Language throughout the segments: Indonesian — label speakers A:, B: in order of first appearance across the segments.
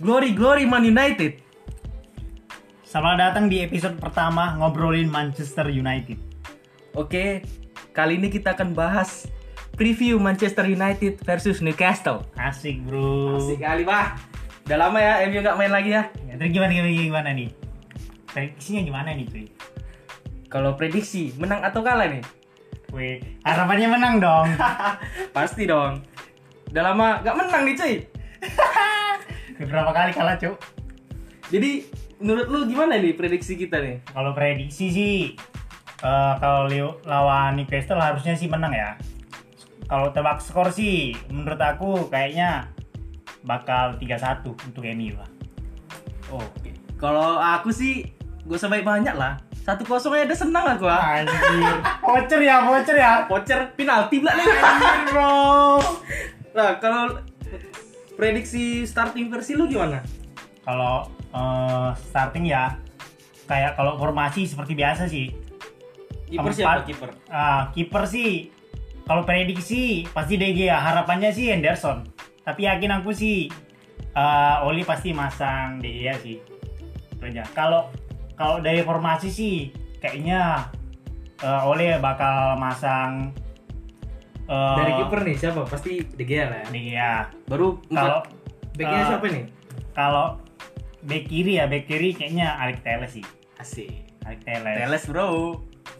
A: Glory Glory Man United.
B: Selamat datang di episode pertama ngobrolin Manchester United.
A: Oke, kali ini kita akan bahas preview Manchester United versus Newcastle.
B: Asik bro.
A: Asik kali bah. Udah lama ya MU nggak main lagi ya.
B: Ya, terus gimana gimana gimana nih? Prediksinya gimana nih cuy?
A: Kalau prediksi menang atau kalah nih?
B: Wih, harapannya menang dong.
A: Pasti dong. Udah lama nggak menang nih cuy.
B: Beberapa kali kalah cuy.
A: Jadi menurut lu gimana nih prediksi kita nih?
B: Kalau prediksi sih eh, kalau Leo- lawan Newcastle harusnya sih menang ya. Kalau tebak skor sih menurut aku kayaknya bakal 3-1 untuk MU lah.
A: Oke. Kalau aku sih gue sebaik banyak lah. Satu kosong aja udah senang aku ah.
B: Anjir. voucher ya, voucher ya.
A: Voucher penalti belak nih.
B: Anjir, bro.
A: Nah, kalau prediksi starting versi lu gimana?
B: Kalau eh, starting ya kayak kalau formasi seperti biasa sih.
A: Kiper
B: Keempat.
A: siapa kiper?
B: Ah, kiper sih kalau prediksi pasti DG ya. Harapannya sih Henderson. Tapi yakin aku sih eh, Oli pasti masang DG ya sih. Itu aja. Kalau kalau dari formasi sih kayaknya eh, Oli bakal masang eh,
A: Dari kiper nih siapa? Pasti De Gea lah. ya.
B: DG ya.
A: Baru
B: Kalau
A: empat backnya
B: eh,
A: siapa nih?
B: kalau back kiri ya back kiri kayaknya Alex Teles sih
A: Asik.
B: Alex Teles,
A: Teles bro.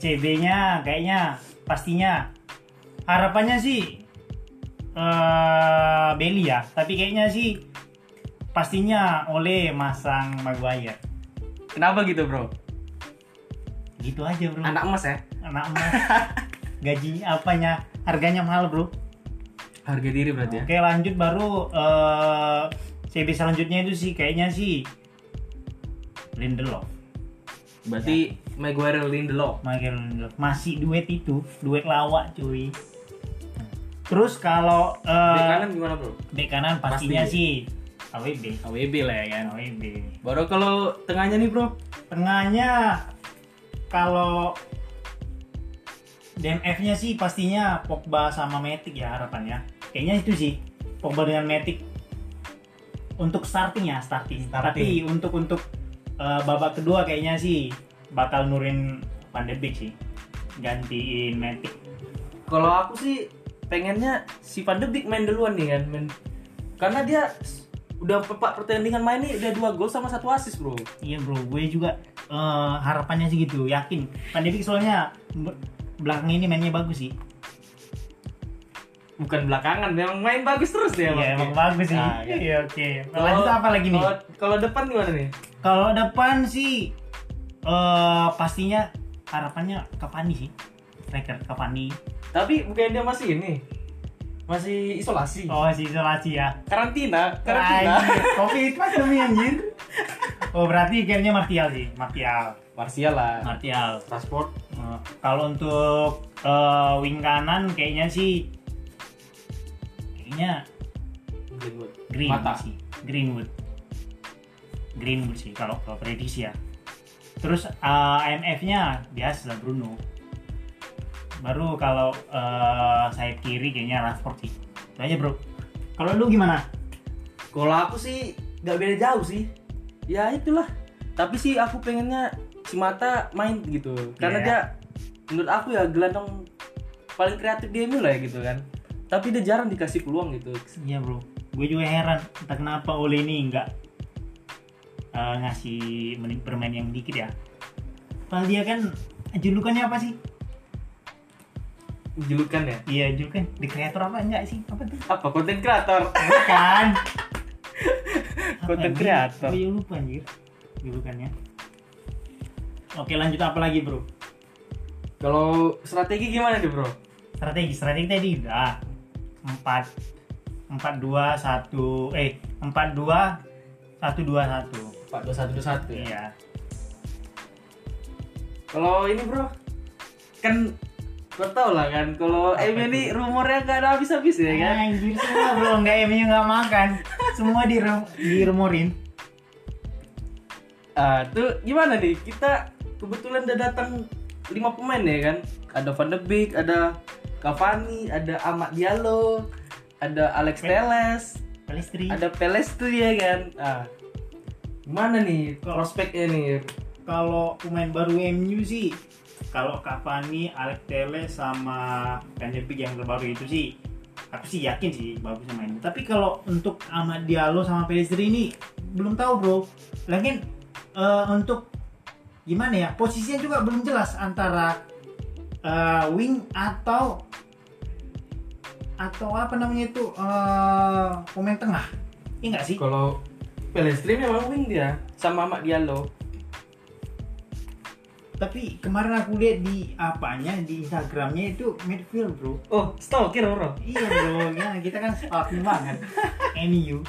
B: CB-nya kayaknya pastinya harapannya sih eh Beli ya tapi kayaknya sih pastinya oleh masang Maguire
A: Kenapa gitu bro?
B: gitu aja bro
A: Anak emas ya.
B: anak emas gaji apanya harganya mahal bro
A: Harga diri berarti ya.
B: Oke lanjut baru eh CB selanjutnya itu sih kayaknya sih Lindelof
A: Berarti Ya. Maguire Lindelof.
B: Michael Lindelof. masih duet itu duet lawak cuy terus kalau eh,
A: Bek kanan gimana bro?
B: bek kanan pastinya
A: Pasti.
B: sih AWB
A: AWB lah ya kan.
B: AWB
A: Baru kalau tengahnya nih bro.
B: tengahnya kalau DMF nya sih pastinya Pogba sama Matic ya harapannya kayaknya itu sih Pogba dengan Matic untuk starting ya starting, tapi
A: Starting.
B: untuk untuk eh, babak kedua kayaknya sih bakal nurin Van de Beek sih gantiin Matic
A: Kalau aku sih pengennya si Van de Beek main duluan nih kan. Main. Karena dia s- udah empat pertandingan main nih udah dua gol sama satu assist bro.
B: Iya bro, gue juga eh, harapannya sih gitu, yakin. Pandemic soalnya be- belakang ini mainnya bagus sih.
A: Bukan belakangan, memang main bagus terus dia.
B: Iya emang bagus sih.
A: Nah, iya.
B: Iya oke.
A: Kalau-
B: Lanjut apa lagi nih?
A: Kalau- Kalau depan gimana nih?
B: Kalau depan sih eh pastinya harapannya Cavani sih. Striker Cavani.
A: Tapi bukan dia masih ini. Masih isolasi.
B: Oh si isolasi ya.
A: Karantina, karantina.
B: Anjir, Covid mas demi anjir. Oh berarti kayaknya Martial sih, Martial,
A: Martial lah.
B: Martial.
A: Transport.
B: Eh, kalau untuk eh, wing kanan kayaknya sih kayaknya
A: Greenwood.
B: Green
A: Mata.
B: sih. Greenwood. Greenwood sih kalau kalau prediksi ya. Terus uh, IMF-nya biasa Bruno. Baru kalau uh, sayap kiri kayaknya Rashford sih. Itu aja, Bro. Kalau lu gimana?
A: Kalau aku sih nggak beda jauh sih. Ya itulah. Tapi sih aku pengennya si Mata main gitu. Karena
B: Iya.
A: dia menurut aku ya gelandang paling kreatif di MU lah ya gitu kan. Tapi dia jarang dikasih peluang gitu.
B: Iya, Bro. Gue juga heran entah kenapa Ole ini nggak uh, ngasih menit bermain yang dikit ya. Padahal dia kan julukannya apa sih?
A: Julukan ya.
B: Iya, julukan The Creator apa enggak sih? Apa tuh?
A: Apa konten kreator?
B: Bukan.
A: Content
B: Kan? Apa ya?
A: creator.
B: Gue juga lupa anjir. Julukannya. Oke, lanjut apa lagi, Bro?
A: Kalau strategi gimana nih, Bro?
B: Strategi, strategi tadi udah 4 4 2 1 eh 4 2 1
A: 4 2
B: 2 1.
A: 1 2 1 ya.
B: Iya.
A: Kalau ini, Bro. Kan gue tau lah kan kalau
B: Apa
A: MU
B: itu?
A: ini rumornya nggak ada habis-habis ya kan.
B: Iya. Anjir semua, Bro. Enggak emangnya enggak makan. Semua di diremorin.
A: Ah, tuh gimana nih? Kita kebetulan udah datang 5 pemain ya kan. Ada Van de Beek, ada Cavani, ada Amat Diallo, ada Alex Teles.
B: Pelestri.
A: ada Peles tuh ya kan ah gimana nih prospeknya nih
B: Kalau pemain baru MU sih, kalau Cavani, Alex Tele sama Kanjepi yang terbaru itu sih, aku sih yakin sih bagus sama ini. Tapi kalau untuk Ahmad Diallo sama Pelestri ini belum tahu bro. Lagian eh, untuk gimana ya posisinya juga belum jelas antara eh, wing atau atau apa namanya itu eh, pemain tengah. Iya nggak sih?
A: kalau Pelestri memang wing dia sama Mak Diallo
B: tapi kemarin aku lihat di apanya di Instagramnya itu midfield bro
A: oh stalker bro
B: iya bro ya kita kan stalking banget MU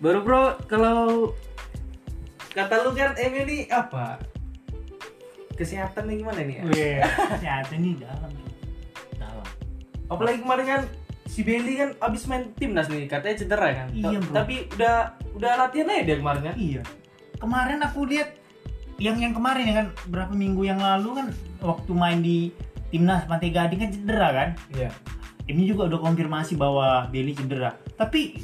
A: baru bro kalau kata lu kan MU nih apa kesehatan nih gimana nih ya?
B: Weh, ya itu nih dalam bro. dalam
A: apalagi kemarin kan si Bailey kan abis main timnas nih katanya cedera kan
B: Iya, bro.
A: tapi udah udah latihan aja dia kemarin kan
B: iya kemarin aku lihat yang yang kemarin ya kan berapa minggu yang lalu kan waktu main di timnas Pantai Gading kan cedera kan
A: iya
B: ini juga udah konfirmasi bahwa Bailey cedera tapi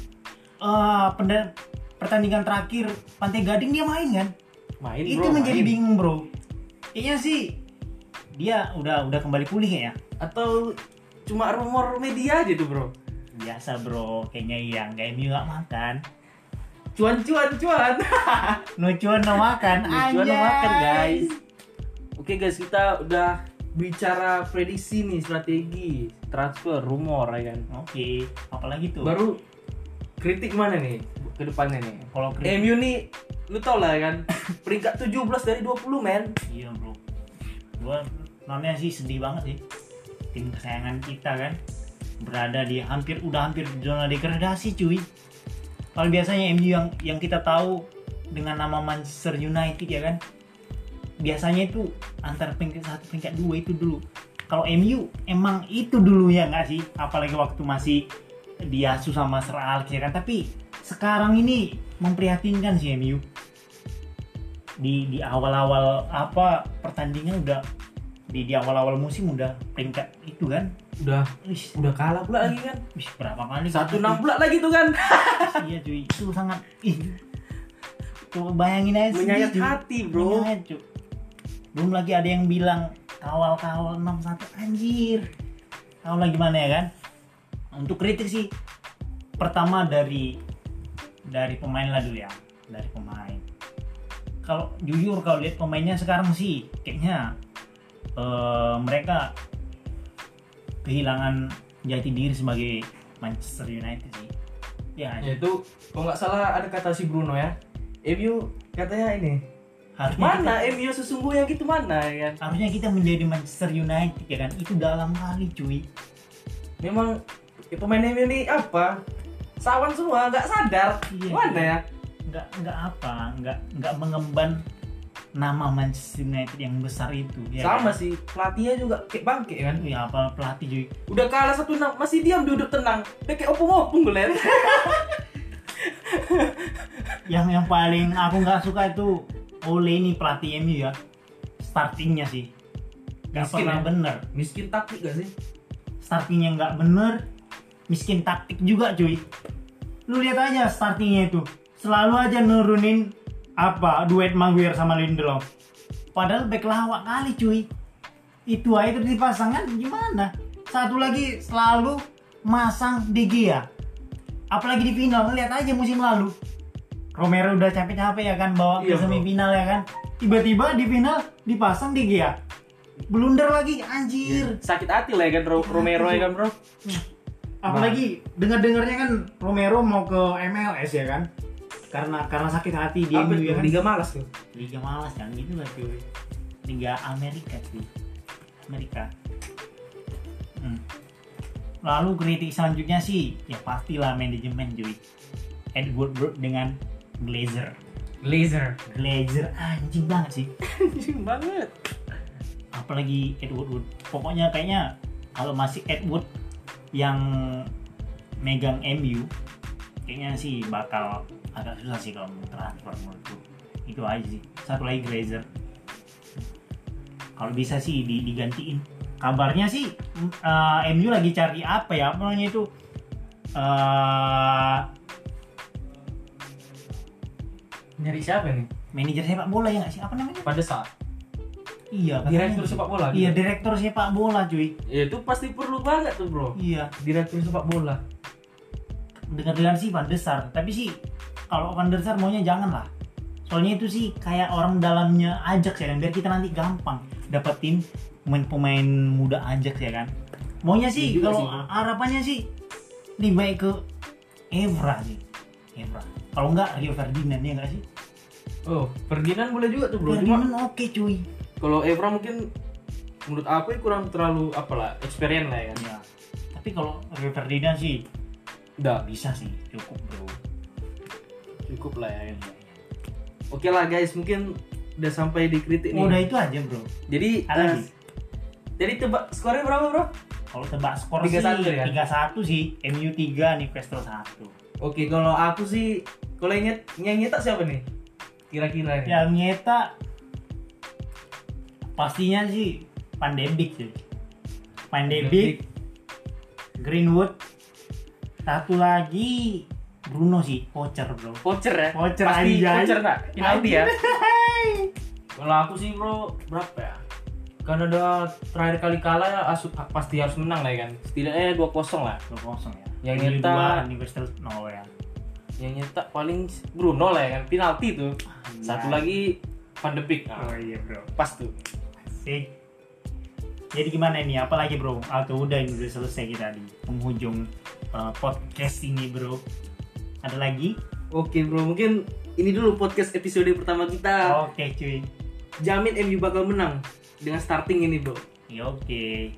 B: eh, penda- pertandingan terakhir Pantai Gading dia main kan
A: main
B: itu
A: bro,
B: menjadi
A: main.
B: bingung bro kayaknya sih dia udah udah kembali pulih ya
A: atau cuma rumor media aja tuh bro
B: biasa bro kayaknya iya nggak ini nggak makan
A: cuan cuan cuan
B: nucuan no makan
A: cuan
B: anjay.
A: makan guys oke guys kita udah bicara prediksi nih strategi transfer rumor ya kan
B: oke apalagi tuh
A: baru kritik mana nih ke depannya nih
B: kalau kritik
A: MU nih lu tau lah kan peringkat 17 dari 20 men
B: iya bro gua namanya sih sedih banget sih tim kesayangan kita kan berada di hampir udah hampir di zona degradasi cuy kalau biasanya MU yang yang kita tahu dengan nama Manchester United ya kan biasanya itu antar peringkat satu peringkat dua itu dulu kalau MU emang itu dulu ya nggak sih apalagi waktu masih diasuh sama Sir Alex ya kan tapi sekarang ini memprihatinkan sih MU di di awal-awal apa pertandingan udah di di awal-awal musim udah peringkat itu kan
A: udah
B: Wih,
A: udah kalah pula lagi kan
B: wih, berapa kali
A: satu enam pula lagi tuh kan
B: iya cuy itu sangat ih tuh bayangin aja sedih,
A: menyayat
B: cuy.
A: hati bro
B: Menyayat, cuy. belum lagi ada yang bilang kawal kawal 61 anjir kawal lagi mana ya kan untuk kritik sih pertama dari dari pemain lah dulu ya dari pemain kalau jujur kalau lihat pemainnya sekarang sih kayaknya eh, mereka kehilangan jati diri sebagai Manchester United sih ya
A: yaitu kalau nggak salah ada kata si Bruno ya MU katanya ini
B: harusnya kita-
A: mana MU sesungguhnya gitu mana ya kan
B: harusnya kita menjadi Manchester United ya kan itu dalam kali cuy
A: memang ya, pemain MU ini apa sawan semua nggak sadar
B: Iya.
A: mana ya
B: nggak nggak apa nggak nggak mengemban nama Manchester United yang besar itu ya
A: sama
B: kan?
A: sih pelatihnya juga kayak bangke kan
B: ya apa pelatih cuy
A: udah kalah satu enam masih diam duduk tenang dia kayak opung-opung ya. gue liat
B: yang yang paling aku nggak suka itu Ole ini pelatih MU ya startingnya sih nggak
A: Miskin,
B: pernah
A: ya?
B: bener
A: miskin taktik gak sih
B: startingnya nggak bener miskin taktik juga cuy lu lihat aja startingnya itu selalu aja nurunin apa duet Maguire sama Lindelof padahal back lawak kali cuy itu aja terus pasangan gimana satu lagi selalu masang De Gea apalagi di final lihat aja musim lalu Romero udah capek-capek ya kan bawa ke
A: Iya, bro.
B: semifinal ya kan tiba-tiba di final dipasang De Gea blunder lagi anjir
A: sakit hati lah ya kan Ro- Romero ya kan bro
B: apalagi dengar dengarnya kan Romero mau ke MLS ya kan karena karena sakit hati dia
A: apa
B: MU
A: itu
B: ya kan
A: liga malas tuh
B: liga malas kan gitu lah cuy liga Amerika cuy Amerika Hmm. lalu kritik selanjutnya sih ya pastilah manajemen cuy Edward Bird dengan Glazer
A: laser
B: Glazer anjing banget sih
A: anjing banget
B: apalagi Edward Wood pokoknya kayaknya kalau masih Edward yang megang MU kayaknya sih bakal agak susah sih kalau transfer menurutku itu aja sih satu lagi Glazer kalau bisa sih di- digantiin kabarnya sih mm, eh, MU lagi cari apa ya apa namanya itu eh
A: Nyari siapa nih?
B: manajer sepak bola ya nggak sih? Apa namanya?
A: Pada saat
B: Iya, katanya.
A: direktur sepak bola.
B: Iya,
A: gitu.
B: direktur sepak bola, cuy.
A: Ya, itu pasti perlu banget tuh bro.
B: Iya,
A: Direktur sepak bola.
B: dengar-dengar sih Van der Sar. tapi sih kalau Van der Sar maunya jangan lah. Soalnya itu sih kayak orang dalamnya Ajax ya kan, biar kita nanti gampang dapetin pemain-pemain muda Ajax ya kan. Maunya sih
A: Iya juga
B: kalau
A: sih, Bro.
B: harapannya sih lebih baik ke Evra sih. Evra. Kalau enggak Rio Ferdinand ya enggak sih?
A: Oh, Ferdinand boleh juga tuh bro. Cuma
B: Ferdinand oke cuy.
A: kalau Evra mungkin menurut aku ya kurang terlalu apalah experience lah ya kan.
B: Ya. Tapi kalau Rio Ferdinand sih
A: Udah
B: bisa sih, cukup bro.
A: cukup lah ya. kan. Oke lah guys, mungkin udah sampai di kritik nih.
B: Udah itu aja bro.
A: Jadi
B: Ada
A: eh,
B: lagi?
A: jadi tebak skornya berapa bro?
B: Kalau tebak
A: 3-1
B: skor sih
A: ya?
B: 3-1 sih. MU 3 Newcastle 1.
A: Oke, kalau aku sih kalau yang nyet- yang nyetak siapa nih? Kira-kira nih.
B: Yang nyeta pastinya sih Pandemic sih. Pandemic, Greenwood, satu lagi Bruno sih, voucher bro.
A: Voucher ya?
B: Voucher
A: Pasti
B: aja.
A: voucher nggak? Penalti ya? Kalau aku sih bro, berapa ya? Karena udah terakhir kali kalah ya asu- pasti harus menang lah ya kan. Setidaknya 2-0 lah.
B: 2-0 ya.
A: Yang
B: MU
A: nyeta-
B: dua, Newcastle 0 ya.
A: Yang nyetak paling Bruno lah ya kan, penalti tuh. Satu lagi Pandebik.
B: Oh
A: Nah,
B: iya bro.
A: pas tuh.
B: Asik. Jadi gimana ini? Apalagi bro? Atau udah ini udah selesai kita di penghujung uh, podcast ini bro. Ada lagi?
A: Oke bro, mungkin ini dulu podcast episode pertama kita.
B: Oke cuy.
A: Jamin MU bakal menang dengan starting ini bro.
B: Ya, Oke.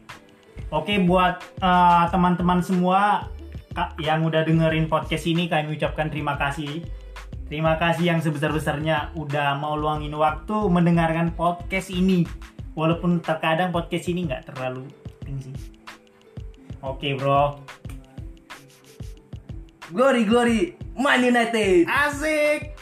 B: Oke buat uh, teman-teman semua ka- yang udah dengerin podcast ini kami ucapkan terima kasih. Terima kasih yang sebesar-besarnya udah mau luangin waktu mendengarkan podcast ini. Walaupun terkadang podcast ini nggak terlalu penting sih. Oke bro.
A: Glory glory Man United.
B: Asik.